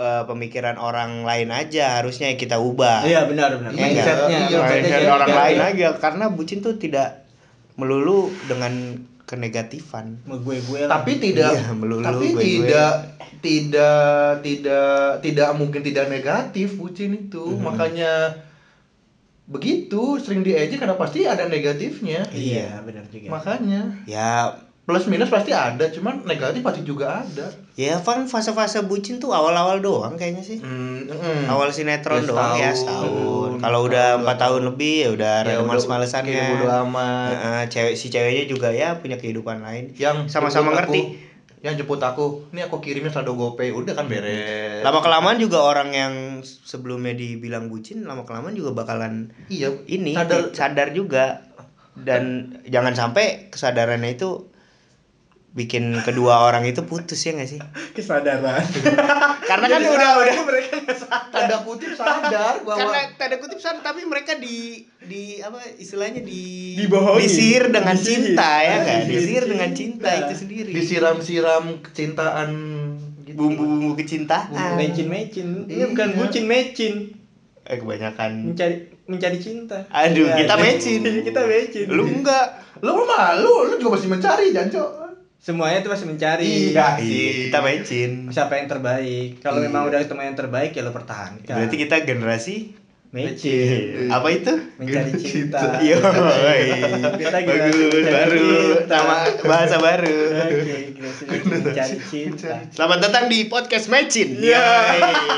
Speaker 2: eh, pemikiran orang lain aja harusnya kita ubah
Speaker 3: iya benar benar
Speaker 2: Iya,
Speaker 3: mindsetnya
Speaker 1: iya,
Speaker 3: mindsetnya
Speaker 2: Mindset
Speaker 1: iya,
Speaker 2: orang
Speaker 1: iya.
Speaker 2: lain aja karena bucin tuh tidak melulu dengan kenegatifan
Speaker 3: gue gue
Speaker 1: tapi tidak
Speaker 2: Iya, melulu
Speaker 1: tapi
Speaker 2: gue-gue.
Speaker 1: tidak tidak tidak tidak mungkin tidak negatif bucin itu
Speaker 2: Mm-hmm.
Speaker 1: makanya begitu sering diejek karena pasti ada negatifnya
Speaker 3: iya benar juga
Speaker 1: makanya
Speaker 2: ya
Speaker 1: plus minus pasti ada cuman negatif pasti juga ada
Speaker 2: ya kan fase-fase bucin tuh awal-awal doang kayaknya sih Mm-hmm. awal
Speaker 1: Ya,
Speaker 2: sinetron doang ya
Speaker 1: setahun.
Speaker 2: setahun kalau udah
Speaker 1: Setahun,
Speaker 2: empat
Speaker 1: dua
Speaker 2: tahun lebih ya udah
Speaker 1: Ya
Speaker 2: rada
Speaker 1: udah,
Speaker 2: males-malesan
Speaker 1: kayak
Speaker 2: ya
Speaker 1: bodo amat.
Speaker 2: Heeh, cewek si ceweknya juga ya punya kehidupan lain
Speaker 1: yang jemput
Speaker 2: sama-sama ngerti
Speaker 1: aku- yang jemput aku ini aku kirimnya saldo gopay udah kan beres
Speaker 2: lama kelamaan juga orang yang sebelumnya dibilang bucin lama kelamaan juga bakalan
Speaker 1: iya
Speaker 2: Mm-hmm. ini
Speaker 1: sadar
Speaker 2: sadar juga dan jangan sampai kesadarannya itu bikin kedua orang itu putus ya nggak sih?
Speaker 3: kesadaran
Speaker 2: Karena kan udah udah
Speaker 3: mereka nggak sadar
Speaker 1: tanda kutip sadar bahwa
Speaker 2: karena tanda kutip sadar tapi mereka di di apa istilahnya di
Speaker 3: Dibohongi.
Speaker 2: disihir dengan
Speaker 3: Disihir.
Speaker 2: cinta ya nggak?
Speaker 3: Disihir
Speaker 2: Disihir dengan
Speaker 3: cinta.
Speaker 2: cinta itu sendiri.
Speaker 1: disiram-siram kecintaan gitu.
Speaker 2: bumbu-bumbu kecintaan.
Speaker 3: mecin mecin ini
Speaker 1: Iya.
Speaker 3: bukan bucin mecin
Speaker 2: Eh kebanyakan.
Speaker 3: mencari mencari cinta
Speaker 2: Aduh,
Speaker 3: Ya,
Speaker 2: kita mecin.
Speaker 3: kita mecin
Speaker 2: Lu enggak
Speaker 1: Lu mah lu, lu juga masih mencari, Janco.
Speaker 3: semuanya tuh masih mencari
Speaker 1: Iya.
Speaker 2: Iya, kita mecin.
Speaker 3: siapa yang terbaik kalau
Speaker 1: Iya.
Speaker 3: memang udah ketemu yang terbaik ya lo pertahankan
Speaker 2: Berarti kita generasi
Speaker 3: mecin
Speaker 2: apa itu?
Speaker 3: mencari cinta
Speaker 2: Yo,
Speaker 3: Kita generasi
Speaker 2: bagus
Speaker 3: mencari
Speaker 2: baru
Speaker 3: cinta.
Speaker 2: nama bahasa baru.
Speaker 3: Oke, kita sini mencari cinta
Speaker 2: Selamat datang di podcast Mecin.
Speaker 3: Iya.
Speaker 2: Yoi.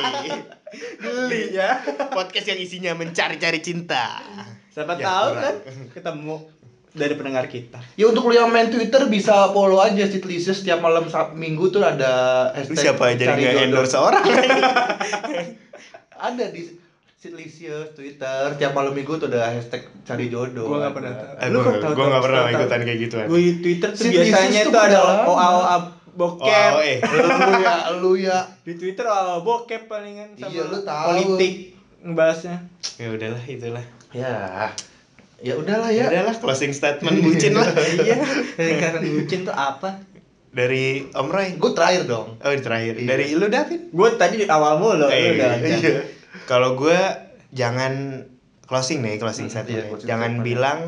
Speaker 3: geli ya
Speaker 2: podcast yang isinya mencari-cari cinta.
Speaker 3: siapa
Speaker 2: Ya,
Speaker 3: tahu
Speaker 2: kurang.
Speaker 3: kan ketemu dari pendengar kita
Speaker 1: Ya untuk lu yang main Twitter bisa follow aja Sitlises setiap malam Sab- Minggu tuh ada
Speaker 2: Lu
Speaker 1: hashtag
Speaker 2: siapa jadi
Speaker 1: cari
Speaker 2: nggak
Speaker 1: jodoh.
Speaker 2: endorse orang?
Speaker 1: Ada di Sitlisius Twitter tiap malam Minggu tuh ada hashtag cari jodoh.
Speaker 3: Gua nggak pernah tahu.
Speaker 2: Eh,
Speaker 3: Lu
Speaker 2: gua-
Speaker 3: kok
Speaker 2: gua
Speaker 3: tahu-
Speaker 2: nggak
Speaker 3: tahu-
Speaker 2: pernah
Speaker 3: tahu-
Speaker 2: ikutan kayak gituan.
Speaker 3: gue di Twitter tuh
Speaker 1: Si
Speaker 3: biasanya
Speaker 1: Isis tuh
Speaker 3: tuh ada
Speaker 1: udah lama.
Speaker 3: OA OA bokep
Speaker 2: Oh, eh.
Speaker 1: lu ya, lu ya.
Speaker 3: di Twitter OA bokep palingan sama
Speaker 1: Iya, lu tahu.
Speaker 3: politik ngebahasnya
Speaker 2: Ya udahlah, itulah.
Speaker 1: Ya. Ya udahlah
Speaker 2: Ya
Speaker 1: ya.
Speaker 2: udahlah closing statement bucin lah.
Speaker 3: iya lingkaran bucin tuh apa
Speaker 2: Dari Om Roy.
Speaker 1: Gue terakhir dong.
Speaker 2: Oh, terakhir.
Speaker 1: Iya.
Speaker 2: Dari lu David.
Speaker 3: gue tadi di awal mulu lu
Speaker 2: Eh,
Speaker 3: udah
Speaker 2: iya. Kalau gua jangan closing nih, closing
Speaker 1: Hmm,
Speaker 2: statement.
Speaker 1: iya,
Speaker 2: nih.
Speaker 1: closing
Speaker 2: jangan
Speaker 1: statement.
Speaker 2: bilang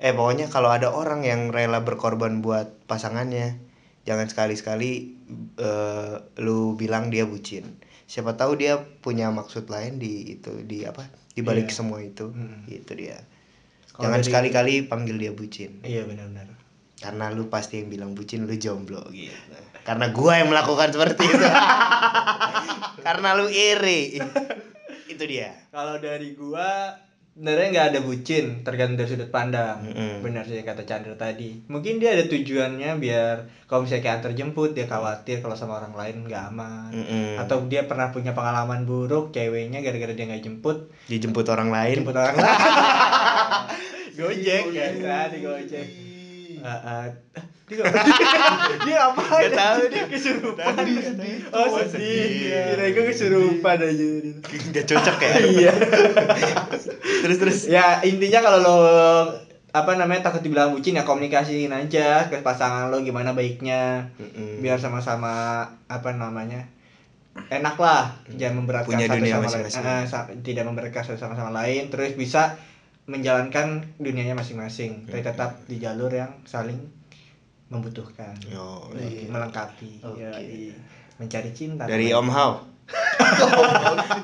Speaker 2: eh pokoknya kalau ada orang yang rela berkorban buat pasangannya, jangan sekali-sekali eh, lu bilang dia bucin. Siapa tahu dia punya maksud lain di itu di apa? Di balik
Speaker 3: Iya.
Speaker 2: semua itu.
Speaker 3: Hmm.
Speaker 2: Gitu dia.
Speaker 3: Kalau
Speaker 2: jangan
Speaker 3: dari-
Speaker 2: sekali-kali panggil dia bucin.
Speaker 3: iya benar-benar
Speaker 2: Karena lu pasti yang bilang bucin lu jomblo gitu. Karena gua yang melakukan seperti itu. Karena lu iri. itu dia.
Speaker 3: kalau dari gua sebenarnya nggak ada bucin tergantung dari sudut pandang
Speaker 2: Mm-mm.
Speaker 3: benar sih yang kata Chandra tadi mungkin dia ada tujuannya biar kalau misalnya kayak antar jemput dia khawatir kalau sama orang lain nggak aman
Speaker 2: Mm-mm.
Speaker 3: atau dia pernah punya pengalaman buruk ceweknya gara-gara dia nggak jemput
Speaker 2: dijemput orang lain.
Speaker 3: jemput orang lain gojek
Speaker 1: Iya.
Speaker 3: kan tadi gojek Ah, ah. dia apa dia apa
Speaker 2: Gak tahu dia.
Speaker 3: kesurupan
Speaker 2: Tadi
Speaker 3: sedih oh
Speaker 2: Oh,
Speaker 3: sedih
Speaker 2: sedih.
Speaker 3: kira gue kesurupan aja
Speaker 2: Gak cocok ya.
Speaker 3: iya
Speaker 2: terus terus.
Speaker 3: ya intinya kalau lo apa namanya takut dibilang bucin ya komunikasiin aja ke pasangan lo gimana baiknya
Speaker 2: Mm-mm.
Speaker 3: biar sama-sama apa namanya enak lah jangan memberatkan
Speaker 2: Punya
Speaker 3: satu
Speaker 2: dunia
Speaker 3: sama
Speaker 2: masing-masing.
Speaker 3: lain Eh, sa- tidak memberatkan satu sama sama lain terus bisa menjalankan dunianya
Speaker 2: Hmm.
Speaker 3: masing-masing tapi tetap di jalur yang saling membutuhkan
Speaker 2: Yo,
Speaker 3: Oke, melengkapi
Speaker 1: Oke.
Speaker 3: yoi. mencari cinta
Speaker 2: iya. dari Om Hao.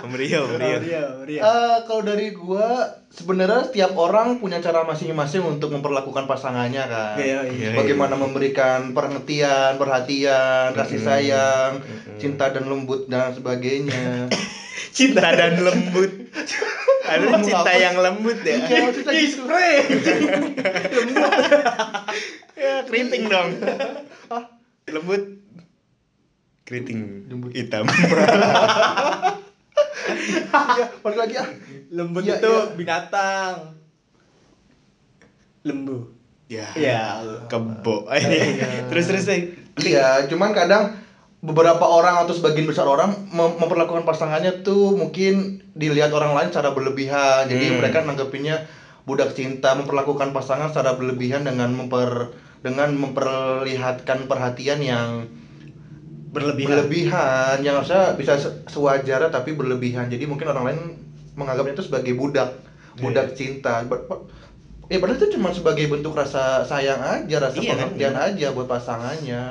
Speaker 2: Om Rio, Om Rio.
Speaker 3: Rio Rio, Rio.
Speaker 1: Eh, kalau dari gua sebenarnya setiap orang punya cara masing-masing untuk memperlakukan pasangannya kan.
Speaker 3: Iya, iya.
Speaker 1: Bagaimana memberikan pengertian, perhatian, kasih
Speaker 2: Mm-mm.
Speaker 1: sayang,
Speaker 2: Mm-mm.
Speaker 1: cinta dan lembut dan sebagainya.
Speaker 2: Cinta dan lembut. Ada cinta yang lembut ya.
Speaker 1: Iya, maksudnya
Speaker 3: Ih,
Speaker 1: gitu.
Speaker 3: spray.
Speaker 2: Ya, keriting dong. Lembut. Keriting
Speaker 1: Lembut.
Speaker 2: hitam.
Speaker 1: Iya, balik lagi ah.
Speaker 3: Lembut
Speaker 1: Iya,
Speaker 3: itu
Speaker 1: iya.
Speaker 3: binatang. Lembu.
Speaker 2: ya.
Speaker 3: Ya Allah.
Speaker 2: Kebo. terus terus. Dek.
Speaker 1: Iya, cuman kadang beberapa orang atau sebagian besar orang mem- memperlakukan pasangannya tuh mungkin dilihat orang lain secara berlebihan. Jadi
Speaker 2: Hmm.
Speaker 1: mereka nanggepinnya budak cinta memperlakukan pasangan secara berlebihan dengan memper dengan memperlihatkan perhatian yang
Speaker 3: Berlebihan.
Speaker 1: berlebihan, yang harusnya bisa se- sewajarnya tapi berlebihan. Jadi mungkin orang lain menganggapnya itu sebagai budak, budak cinta. Ber- per- Ya padahal itu cuma sebagai bentuk rasa sayang aja, rasa
Speaker 2: Iya, kan?
Speaker 1: pengertian aja buat pasangannya.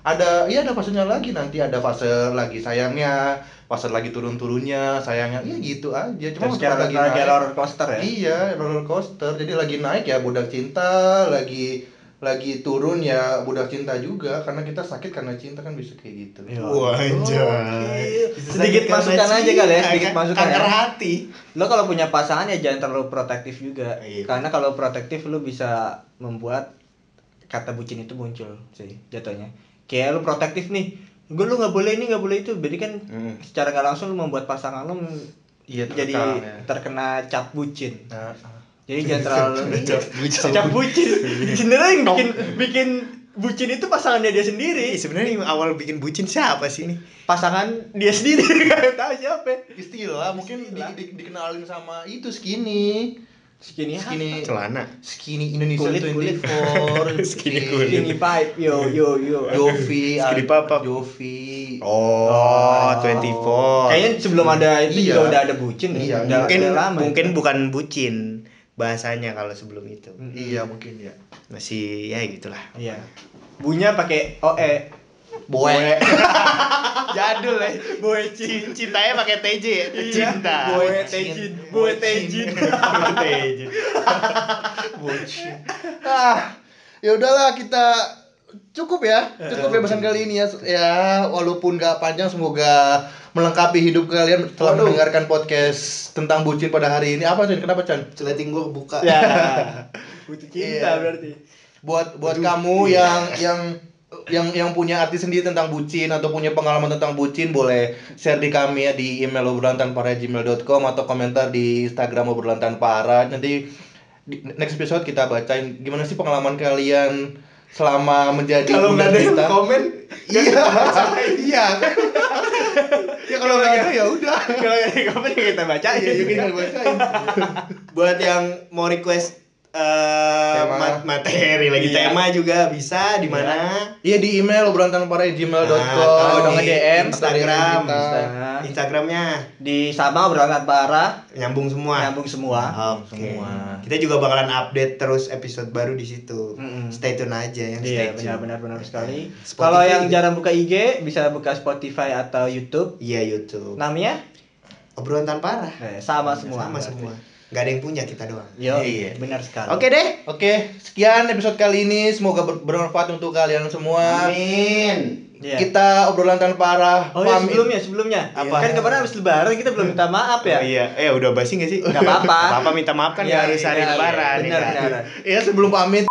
Speaker 1: Ada iya ada fasenya lagi nanti ada fase lagi sayangnya, fase lagi turun-turunnya, sayangnya. Iya gitu aja. Cuma waktu
Speaker 3: Terus kayak
Speaker 1: lagi
Speaker 3: kayak
Speaker 1: naik-
Speaker 3: roller coaster ya.
Speaker 1: Iya, roller coaster. Jadi lagi naik ya budak cinta, lagi lagi turun ya budak cinta juga karena kita sakit karena cinta kan bisa kayak gitu.
Speaker 3: Iya.
Speaker 2: Wah, anjay.
Speaker 3: Oke. Sedikit masukan aja kali ya, sedikit masukan
Speaker 2: kan? Kanker
Speaker 3: ya.
Speaker 2: hati.
Speaker 3: Lo kalau punya pasangan ya jangan terlalu protektif juga.
Speaker 2: Iya.
Speaker 3: Karena kalau protektif lo bisa membuat kata bucin itu muncul sih jatuhnya. Kayak lo protektif nih. Gue lu nggak boleh ini nggak boleh itu. Jadi kan
Speaker 2: Mm.
Speaker 3: secara nggak langsung lo membuat pasangan lo
Speaker 1: Iya,
Speaker 3: jadi
Speaker 1: terkekang, ya.
Speaker 3: terkena cap bucin.
Speaker 1: Nah,
Speaker 3: Jadi jangan terlalu
Speaker 2: Cap bucin. Iya.
Speaker 3: cap bucin. Sebenarnya yang bikin bikin bucin itu pasangannya dia
Speaker 2: Ih,
Speaker 3: sendiri
Speaker 2: Iya, sebenarnya yang awal bikin bucin siapa sih ini?
Speaker 3: pasangan dia sendiri nggak tahu siapa
Speaker 1: istilah mungkin di-
Speaker 3: Istilah.
Speaker 1: di- dikenalin sama itu skinny
Speaker 3: skinny apa?
Speaker 1: skinny
Speaker 2: Celana.
Speaker 1: skinny Indonesia
Speaker 3: Kulit,
Speaker 1: 24
Speaker 2: Skinny
Speaker 1: Iya.
Speaker 2: kulit.
Speaker 3: skinny pipe yo yo yo
Speaker 1: Jovi
Speaker 2: Skinny
Speaker 1: Al-
Speaker 2: Papa.
Speaker 1: Jovi
Speaker 2: Oh, 24.
Speaker 3: kayaknya sebelum ada itu
Speaker 1: Iya.
Speaker 3: juga udah ada bucin deh.
Speaker 1: Iya,
Speaker 3: udah,
Speaker 2: mungkin
Speaker 3: udah lama
Speaker 2: mungkin bukan bucin bahasanya kalau sebelum itu.
Speaker 1: iya mungkin ya
Speaker 2: Masih ya gitulah.
Speaker 3: iya bunya pakai E. oe
Speaker 1: boy
Speaker 2: Jadul ya.
Speaker 3: boe cin
Speaker 2: Cintanya pakai TJ ya?
Speaker 3: Iya.
Speaker 2: Cinta.
Speaker 3: boe tejin boe tejin
Speaker 2: Pakai TJ.
Speaker 1: Bocil. ah, ya udahlah kita cukup ya. Cukup bebasan kali ini ya. Ya, walaupun gak panjang semoga melengkapi hidup kalian telah
Speaker 3: Waduh.
Speaker 1: mendengarkan podcast tentang bucin pada hari ini. Apa Chan? Kenapa Chan?
Speaker 4: Celeting gua kebuka.
Speaker 3: ya butuh
Speaker 1: Iya.
Speaker 3: cinta berarti
Speaker 1: Buat buat kamu
Speaker 3: iya.
Speaker 1: yang yang yang yang punya arti sendiri tentang bucin atau punya pengalaman tentang bucin boleh share di kami ya di email obrolan tanpa arah gmail.com atau komentar di Instagram obrolan tanpa arah nanti di next episode kita bacain gimana sih pengalaman kalian selama menjadi
Speaker 3: kalau nggak ada yang
Speaker 1: penderita?
Speaker 3: komen
Speaker 1: iya iya kan ya kalau nggak ada ya udah
Speaker 3: kalau nggak ada yang komen ya kita bacain
Speaker 1: iya kita bacain
Speaker 2: Buat yang mau request eh,
Speaker 1: Tema.
Speaker 2: mat- materi lagi
Speaker 3: Iya.
Speaker 2: tema juga bisa di mana?
Speaker 1: iya di email obrolantanpara@gmail.com
Speaker 3: Ah,
Speaker 2: Nah,
Speaker 1: atau
Speaker 2: kalau
Speaker 1: nge DM
Speaker 2: Instagram.
Speaker 3: Nah,
Speaker 2: Instagramnya
Speaker 3: di sama berangkat para
Speaker 2: nyambung semua.
Speaker 3: nyambung semua
Speaker 2: Oke.
Speaker 1: Semua.
Speaker 2: Kita juga bakalan update terus episode baru di situ.
Speaker 3: Mm-mm.
Speaker 2: Stay tune aja yang
Speaker 3: Iya
Speaker 2: stay tune.
Speaker 3: benar-benar benar sekali.
Speaker 2: Spotify
Speaker 3: Kalau yang
Speaker 2: juga.
Speaker 3: jarang buka IG bisa buka Spotify atau YouTube.
Speaker 2: Iya YouTube.
Speaker 3: Namanya
Speaker 2: Obrolan tanpa arah.
Speaker 3: Eh, Nah. sama semua.
Speaker 2: Sama semua. Gak ada yang punya kita doang.
Speaker 3: Yo,
Speaker 1: Iya.
Speaker 3: benar sekali.
Speaker 2: Oke deh.
Speaker 1: Oke, sekian episode kali ini. Semoga ber- bermanfaat untuk kalian semua.
Speaker 2: Amin.
Speaker 3: Iya.
Speaker 1: Kita obrolan tanpa arah.
Speaker 3: Oh ya
Speaker 1: pamit.
Speaker 3: sebelumnya sebelumnya.
Speaker 2: Apa?
Speaker 3: Kan kemarin habis lebaran kita belum minta maaf
Speaker 2: Oh,
Speaker 3: ya.
Speaker 2: iya, eh udah basi gak sih?
Speaker 3: Nggak apa-apa.
Speaker 2: Nggak apa-apa minta maaf kan
Speaker 3: Iya,
Speaker 2: nggak harus hari
Speaker 3: iya,
Speaker 2: lebaran.
Speaker 3: Benar
Speaker 2: ya kan?
Speaker 3: benar.
Speaker 1: Ya sebelum pamit